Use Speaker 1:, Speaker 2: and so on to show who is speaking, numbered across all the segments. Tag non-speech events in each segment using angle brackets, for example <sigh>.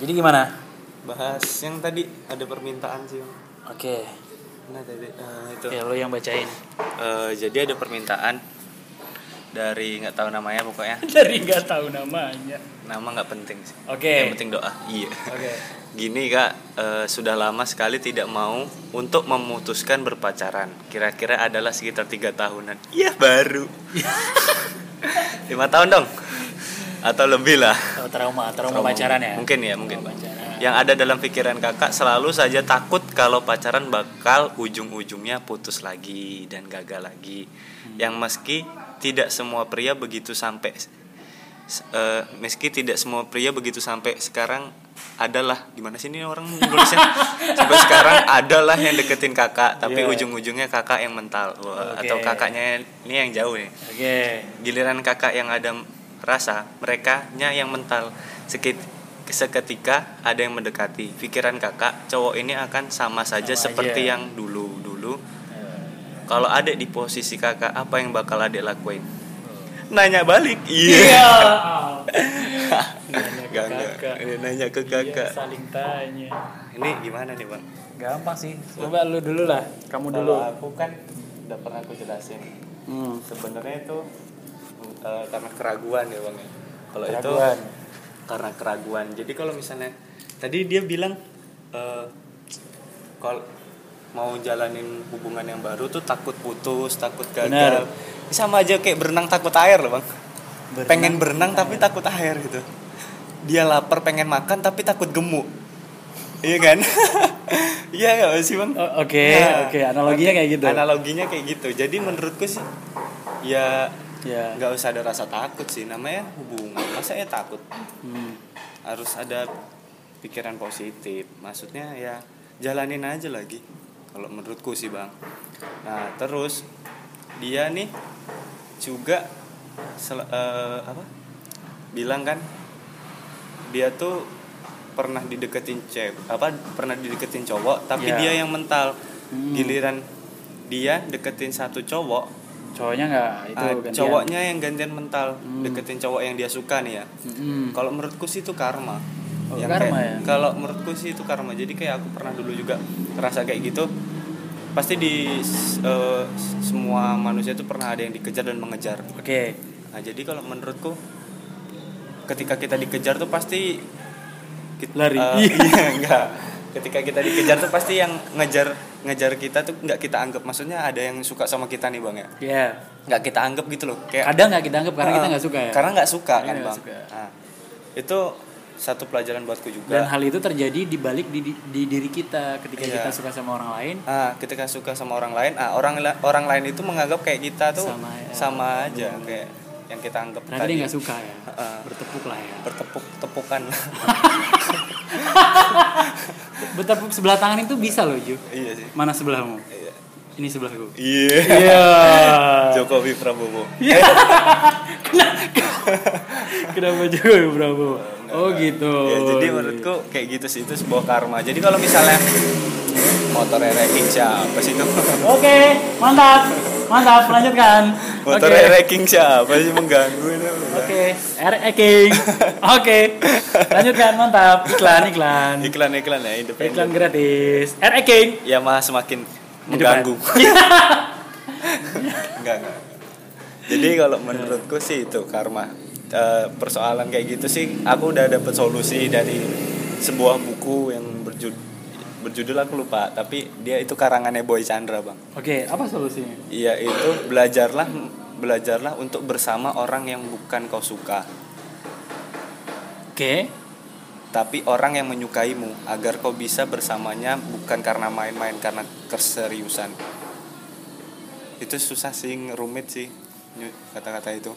Speaker 1: Jadi gimana?
Speaker 2: bahas yang tadi ada permintaan sih Bang.
Speaker 1: Oke.
Speaker 2: nah tadi eh, itu
Speaker 1: Oke, lu yang bacain.
Speaker 2: Eh, jadi ada permintaan dari nggak tahu namanya pokoknya
Speaker 1: <laughs> Dari nggak tahu namanya.
Speaker 2: nama nggak penting sih yang
Speaker 1: Oke.
Speaker 2: penting doa iya
Speaker 1: Oke.
Speaker 2: Gini kak, eh, sudah lama sekali tidak mau untuk memutuskan berpacaran. Kira-kira adalah sekitar tiga tahunan. Iya <laughs> baru. Lima tahun dong, atau lebih lah.
Speaker 1: Oh, trauma, trauma pacaran ya.
Speaker 2: Mungkin ya, mungkin.
Speaker 1: Trauma pacaran.
Speaker 2: Yang ada dalam pikiran kakak selalu saja takut kalau pacaran bakal ujung-ujungnya putus lagi dan gagal lagi.
Speaker 1: Hmm.
Speaker 2: Yang meski tidak semua pria begitu sampai s- eh, meski tidak semua pria begitu sampai sekarang adalah gimana sih ini orang
Speaker 1: <laughs>
Speaker 2: nulisnya sampai sekarang adalah yang deketin kakak tapi
Speaker 1: Iya.
Speaker 2: ujung-ujungnya kakak yang mental Wah,
Speaker 1: Oke.
Speaker 2: atau kakaknya ini yang jauh nih
Speaker 1: Oke.
Speaker 2: giliran kakak yang ada rasa mereka nya yang mental Sekit, seketika ada yang mendekati pikiran kakak cowok ini akan sama saja
Speaker 1: Sama
Speaker 2: seperti
Speaker 1: aja.
Speaker 2: yang dulu dulu kalau adik di posisi kakak apa yang bakal adik lakuin nanya balik
Speaker 1: <laughs>
Speaker 2: iya
Speaker 1: Iya.
Speaker 2: <laughs> Nggak, nggak.
Speaker 1: Kakak.
Speaker 2: Ini nanya ke
Speaker 1: Iya,
Speaker 2: kakak
Speaker 1: saling tanya.
Speaker 2: ini gimana nih bang
Speaker 1: Gampang sih. Coba lu dulu lah. Kamu dulu.
Speaker 2: Kalau aku kan udah pernah aku jelasin
Speaker 1: Hmm.
Speaker 2: sebenarnya itu eh, karena keraguan ya bang ya. kalau itu
Speaker 1: Keraguan.
Speaker 2: karena keraguan jadi kalau misalnya tadi dia bilang eh, kalau mau jalanin hubungan yang baru tuh takut putus takut gagal
Speaker 1: Benar.
Speaker 2: Ini sama aja kayak berenang takut air loh bang
Speaker 1: Berenang
Speaker 2: pengen berenang tapi takut air gitu dia lapar pengen makan tapi takut gemuk iya kan <laughs> iya nggak sih bang
Speaker 1: O- Oh, Oke,
Speaker 2: Nah,
Speaker 1: oke. Analoginya kayak gitu.
Speaker 2: analoginya kayak gitu jadi menurutku sih ya
Speaker 1: Ya.
Speaker 2: nggak usah ada rasa takut sih namanya hubungan masa ya takut
Speaker 1: Hmm.
Speaker 2: harus ada pikiran positif maksudnya ya jalanin aja lagi kalau menurutku sih bang nah terus dia nih juga sel- eh, apa bilang kan dia tuh pernah dideketin cewek apa pernah dideketin cowok tapi
Speaker 1: Ya.
Speaker 2: dia yang mental
Speaker 1: Hmm.
Speaker 2: giliran dia deketin satu cowok
Speaker 1: Cowoknya nggak itu
Speaker 2: ah,
Speaker 1: gantian.
Speaker 2: cowoknya yang gantian mental
Speaker 1: Hmm.
Speaker 2: deketin cowok yang dia suka nih ya
Speaker 1: Mm-mm.
Speaker 2: kalau menurutku sih itu karma.
Speaker 1: Oh,
Speaker 2: Yang
Speaker 1: karma
Speaker 2: kayak-
Speaker 1: ya?
Speaker 2: Kalau menurutku sih itu karma. Jadi kayak aku pernah dulu juga ngerasa kayak gitu. Pasti di s- eh, s- semua manusia itu pernah ada yang dikejar dan mengejar.
Speaker 1: Oke.
Speaker 2: Nah, jadi kalau menurutku ketika kita dikejar tuh pasti kita,
Speaker 1: Lari. <laughs>
Speaker 2: iya, enggak. Ketika kita dikejar tuh pasti yang ngejar ngejar kita tuh nggak kita anggap. Maksudnya ada yang suka sama kita nih, Bang ya.
Speaker 1: Ya.
Speaker 2: Nggak kita anggap gitu loh. Kayak
Speaker 1: Ada nggak kita anggap karena kita
Speaker 2: Ah,
Speaker 1: nggak suka ya?
Speaker 2: Karena nggak suka
Speaker 1: Karena
Speaker 2: kan
Speaker 1: nggak
Speaker 2: bang.
Speaker 1: suka.
Speaker 2: Ah, itu satu pelajaran buatku juga.
Speaker 1: dan hal itu terjadi di balik di, di- di diri kita ketika
Speaker 2: Iya.
Speaker 1: kita suka sama orang lain
Speaker 2: Ah, ketika suka sama orang lain, ah orang la- orang lain itu menganggap kayak kita tuh
Speaker 1: Sama,
Speaker 2: sama,
Speaker 1: ya.
Speaker 2: aja kayak yang kita anggap
Speaker 1: ternyata dia
Speaker 2: tadi
Speaker 1: nggak suka ya
Speaker 2: Heeh.
Speaker 1: bertepuk lah ya
Speaker 2: bertepuk tepukan.
Speaker 1: bertepuk sebelah tangan itu bisa loh Ju
Speaker 2: <laughs> iya sih.
Speaker 1: mana sebelahmu
Speaker 2: Iya.
Speaker 1: ini sebelahku
Speaker 2: Iya.
Speaker 1: iya
Speaker 2: Jokowi Prabowo. Ya,
Speaker 1: kenapa Jokowi Prabowo oh gitu
Speaker 2: Ya, jadi menurutku kayak gitu sih itu sebuah karma. Jadi kalau misalnya motor racing siapa sih itu? <laughs>
Speaker 1: oke mantap mantap lanjutkan
Speaker 2: motor
Speaker 1: oke
Speaker 2: racing siapa sih mengganggu ini?
Speaker 1: oke R- King oke lanjutkan mantap iklan iklan
Speaker 2: Iklan iklan ya independen.
Speaker 1: iklan gratis R King
Speaker 2: ya malah semakin
Speaker 1: Di depan.
Speaker 2: mengganggu. enggak, enggak. Jadi kalau menurutku sih itu karma. Eh, persoalan kayak gitu sih aku udah dapet solusi dari sebuah buku yang berjudul berjudul aku lupa tapi dia itu karangannya Boy Chandra bang
Speaker 1: Oke, apa solusinya?
Speaker 2: iya itu belajarlah belajarlah untuk bersama orang yang bukan kau suka
Speaker 1: Oke,
Speaker 2: tapi orang yang menyukaimu agar kau bisa bersamanya bukan karena main-main karena keseriusan itu susah sih rumit sih ny- kata-kata itu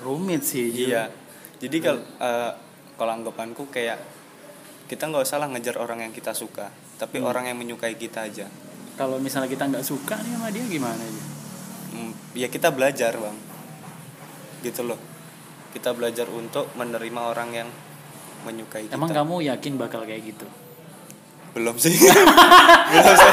Speaker 1: rumit sih. Ju.
Speaker 2: iya jadi kalau eh, kalau anggapanku kayak kita nggak usah lah ngejar orang yang kita suka tapi orang yang menyukai kita aja
Speaker 1: Kalau misalnya kita nggak suka nih sama dia gimana? Ju?
Speaker 2: Hmm, ya kita belajar bang gitu loh kita belajar untuk menerima orang yang menyukai kita
Speaker 1: Emang kamu yakin bakal kayak gitu?
Speaker 2: belum sih <laughs> belum saya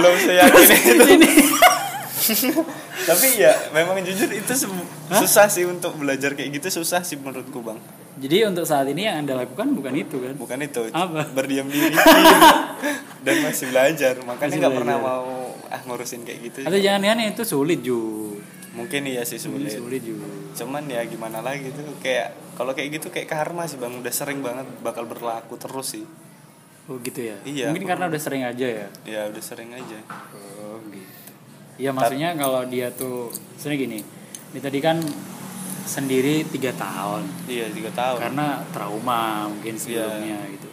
Speaker 2: belum saya yakin itu tapi ya memang jujur itu se- susah sih untuk belajar kayak gitu susah sih menurutku bang
Speaker 1: Jadi untuk saat ini yang Anda lakukan bukan itu kan?
Speaker 2: bukan itu
Speaker 1: Apa?
Speaker 2: berdiam
Speaker 1: <laughs>
Speaker 2: diri dan masih belajar makanya
Speaker 1: Masih
Speaker 2: nggak pernah
Speaker 1: belajar.
Speaker 2: mau ah ngurusin kayak gitu
Speaker 1: Atau jangan-jangan itu sulit Ju.
Speaker 2: mungkin iya sih sulit
Speaker 1: Sulit Ju.
Speaker 2: cuman ya gimana lagi tuh kayak kalau kayak gitu kayak karma sih bang udah sering banget bakal berlaku terus sih
Speaker 1: Oh gitu ya.
Speaker 2: Iya.
Speaker 1: Mungkin karena udah sering aja ya.
Speaker 2: ya udah sering aja
Speaker 1: Oh gitu. Iya maksudnya kalau dia tuh sebenarnya gini. Dia tadi kan sendiri tiga tahun
Speaker 2: iya tiga tahun
Speaker 1: karena trauma
Speaker 2: Iya.
Speaker 1: mungkin sebelumnya gitu.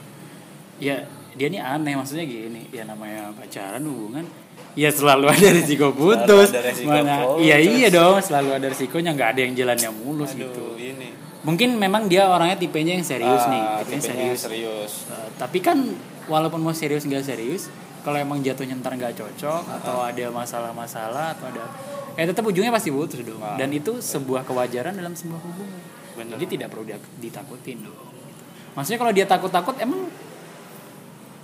Speaker 1: Ya dia nih aneh maksudnya gini. Ya namanya pacaran hubungan ya selalu ada risiko putus.
Speaker 2: ada resiko putus.
Speaker 1: Iya iya dong selalu ada risikonya nggak ada yang jalannya mulus gitu.
Speaker 2: aduh ini
Speaker 1: Mungkin memang dia orangnya tipenya yang serius nih,
Speaker 2: Ah,
Speaker 1: tipenya
Speaker 2: tipenya
Speaker 1: serius.
Speaker 2: serius
Speaker 1: Uh, tapi kan walaupun mau serius nggak serius kalau emang jatuhnya ntar nggak cocok
Speaker 2: Ah.
Speaker 1: atau ada masalah-masalah atau ada eh tetap ujungnya pasti putus dong dan itu sebuah kewajaran dalam sebuah hubungan
Speaker 2: Ah. Bener.
Speaker 1: jadi tidak perlu dia- ditakutin dong gitu. maksudnya kalau dia takut-takut emang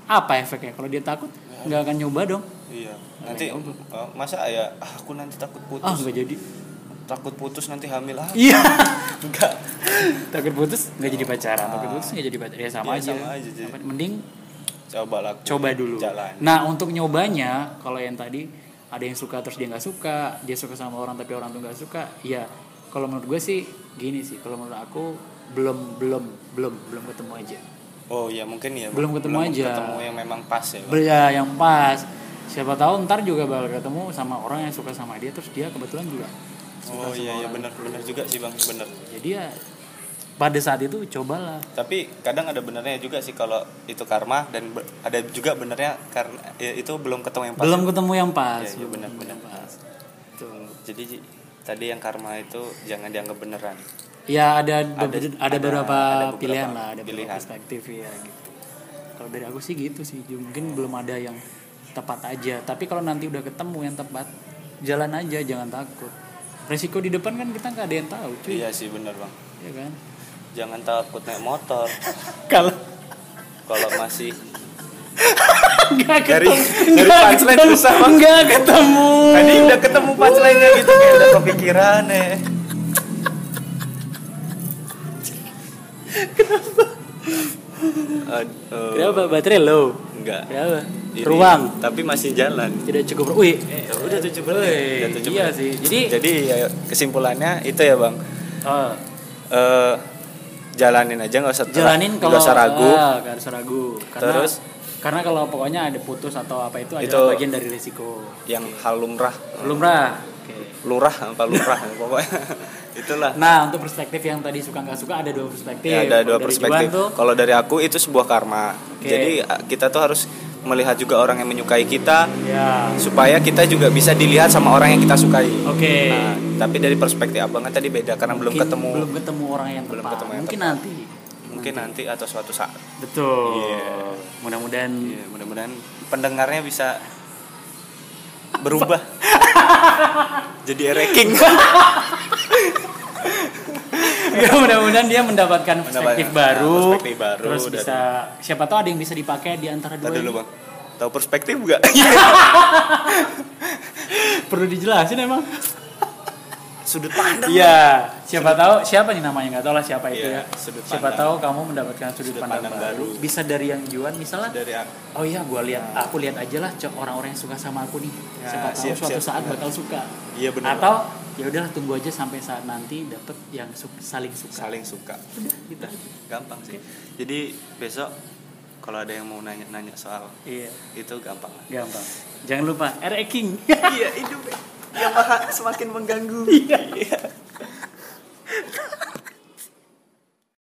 Speaker 1: apa efeknya kalau dia takut
Speaker 2: Nah.
Speaker 1: nggak akan nyoba dong
Speaker 2: iya nanti eh, masa ya ah, aku nanti takut
Speaker 1: ah
Speaker 2: putus
Speaker 1: nggak jadi <laughs>
Speaker 2: takut putus nanti hamil ah
Speaker 1: iya
Speaker 2: enggak
Speaker 1: takut putus nggak jadi pacaran takut putus nggak jadi pacaran ya sama
Speaker 2: Ah. Iya,
Speaker 1: aja
Speaker 2: sama aja, jadi.
Speaker 1: mending
Speaker 2: coba laku
Speaker 1: coba dulu.
Speaker 2: jalan
Speaker 1: Nah untuk nyobanya kalau yang tadi ada yang suka terus dia nggak suka, dia suka sama orang tapi orang tuh nggak suka, ya kalau menurut gue sih gini sih, kalau menurut aku belum belum belum belum ketemu aja,
Speaker 2: oh iya mungkin ya
Speaker 1: Belum ketemu aja.
Speaker 2: ketemu yang memang pas ya Bang.
Speaker 1: Bela yang pas. Siapa tahu ntar juga bakal ketemu sama orang yang suka sama dia terus dia kebetulan juga suka
Speaker 2: oh
Speaker 1: sama
Speaker 2: iya iya
Speaker 1: orang.
Speaker 2: benar benar juga sih bang benar
Speaker 1: Jadi ya pada saat itu cobalah.
Speaker 2: tapi kadang ada benernya juga sih kalau itu karma dan be- ada juga benernya karena ya, itu belum ketemu yang pas
Speaker 1: Belum ketemu yang pas.
Speaker 2: Iya, iya,
Speaker 1: belum
Speaker 2: benar,
Speaker 1: ketemu
Speaker 2: benar.
Speaker 1: yang pas. Tuh.
Speaker 2: jadi Ji, tadi yang karma itu jangan dianggap beneran
Speaker 1: Ya ada ada, ada
Speaker 2: Ada- ada-
Speaker 1: beberapa
Speaker 2: ada beberapa
Speaker 1: pilihan lah, ada
Speaker 2: pilihan.
Speaker 1: beberapa perspektif ya gitu. Kalau dari aku sih gitu sih, Ju. mungkin belum ada yang tepat aja. Tapi kalau nanti udah ketemu yang tepat, jalan aja, jangan takut. Resiko di depan kan kita nggak ada yang tahu, cuy,
Speaker 2: iya sih bener bang
Speaker 1: ya kan?
Speaker 2: jangan takut naik motor
Speaker 1: Kalau
Speaker 2: kalau masih
Speaker 1: <laughs> nggak
Speaker 2: Dari-
Speaker 1: ketemu,
Speaker 2: dari
Speaker 1: nggak
Speaker 2: punchline
Speaker 1: ketemu,
Speaker 2: susah banget.
Speaker 1: nggak ketemu.
Speaker 2: <laughs> tadi udah ketemu punchline-nya gitu kayak udah kepikiran eh Aduh,
Speaker 1: Kenapa baterai low?
Speaker 2: oh, enggak
Speaker 1: Kenapa?
Speaker 2: Ini,
Speaker 1: Ruang
Speaker 2: tapi masih jalan
Speaker 1: tidak cukup. ru- Wih, eh,
Speaker 2: Ya udah tujuh menit.
Speaker 1: wih,
Speaker 2: Udah tujuh
Speaker 1: iya
Speaker 2: menit.
Speaker 1: sih. Jadi,
Speaker 2: Jadi ya, kesimpulannya itu ya bang.
Speaker 1: ah,
Speaker 2: Eh, jalanin aja nggak usah ter-
Speaker 1: jalanin kalau
Speaker 2: nggak usah ragu.
Speaker 1: ah, nggak usah ragu karena
Speaker 2: Terus?
Speaker 1: karena kalau pokoknya ada putus atau apa itu
Speaker 2: Itu-
Speaker 1: adalah bagian dari risiko
Speaker 2: Yang hal lumrah,
Speaker 1: lumrah
Speaker 2: lurah apa lurah <laughs> pokoknya itulah.
Speaker 1: nah untuk perspektif yang tadi suka nggak suka ada dua perspektif
Speaker 2: Ya, ada dua
Speaker 1: Kalau dari
Speaker 2: perspektif.
Speaker 1: Juan tuh,
Speaker 2: Kalau dari aku itu sebuah karma.
Speaker 1: Oke.
Speaker 2: Jadi a- kita tuh harus melihat juga orang yang menyukai kita
Speaker 1: ya
Speaker 2: supaya kita juga bisa dilihat sama orang yang kita sukai.
Speaker 1: oke
Speaker 2: Nah, tapi dari perspektif abangnya tadi beda karena belum
Speaker 1: Mungkin
Speaker 2: ketemu.
Speaker 1: belum ketemu orang yang
Speaker 2: Belum
Speaker 1: tepat
Speaker 2: ketemu yang
Speaker 1: mungkin
Speaker 2: tepat.
Speaker 1: nanti
Speaker 2: Mungkin nanti atau suatu saat.
Speaker 1: betul
Speaker 2: Iya.
Speaker 1: mudah-mudahan
Speaker 2: Iya, mudah-mudahan pendengarnya bisa <laughs> berubah. Jadi ranking.
Speaker 1: ya <laughs> mudah-mudahan dia mendapatkan perspektif
Speaker 2: Iya. Mendapatkan nah,
Speaker 1: baru
Speaker 2: perspektif baru
Speaker 1: terus
Speaker 2: dari-
Speaker 1: bisa siapa tahu ada yang bisa dipakai di antara dua
Speaker 2: Tadi
Speaker 1: ini.
Speaker 2: dulu, Bang. Tahu perspektif enggak?
Speaker 1: perlu dijelasin emang
Speaker 2: Sudut pandang.
Speaker 1: Iya, siapa tahu siapa nih namanya nggak tahu lah siapa itu
Speaker 2: Iya,
Speaker 1: ya.
Speaker 2: sudut
Speaker 1: siapa
Speaker 2: pandang.
Speaker 1: tahu kamu mendapatkan sudut,
Speaker 2: Sudut
Speaker 1: pandang,
Speaker 2: pandang
Speaker 1: baru.
Speaker 2: baru.
Speaker 1: Bisa dari yang Juan misalnya.
Speaker 2: Dari aku.
Speaker 1: Oh iya, gua lihat aku lihat aja lah cok orang-orang yang suka sama aku nih.
Speaker 2: Ya,
Speaker 1: siapa tahu
Speaker 2: siap,
Speaker 1: suatu
Speaker 2: siap,
Speaker 1: saat
Speaker 2: benar.
Speaker 1: bakal suka.
Speaker 2: Iya benar.
Speaker 1: Atau ya udahlah tunggu aja sampai saat nanti dapet yang su- saling suka.
Speaker 2: saling suka.
Speaker 1: Gitu.
Speaker 2: Udah, gampang sih. Jadi besok kalau ada yang mau nanya-nanya soal
Speaker 1: Iya,
Speaker 2: itu gampang lah.
Speaker 1: gampang.
Speaker 2: <laughs>
Speaker 1: Jangan lupa RE King.
Speaker 2: iya, hidup yang semakin mengganggu.
Speaker 1: Iya.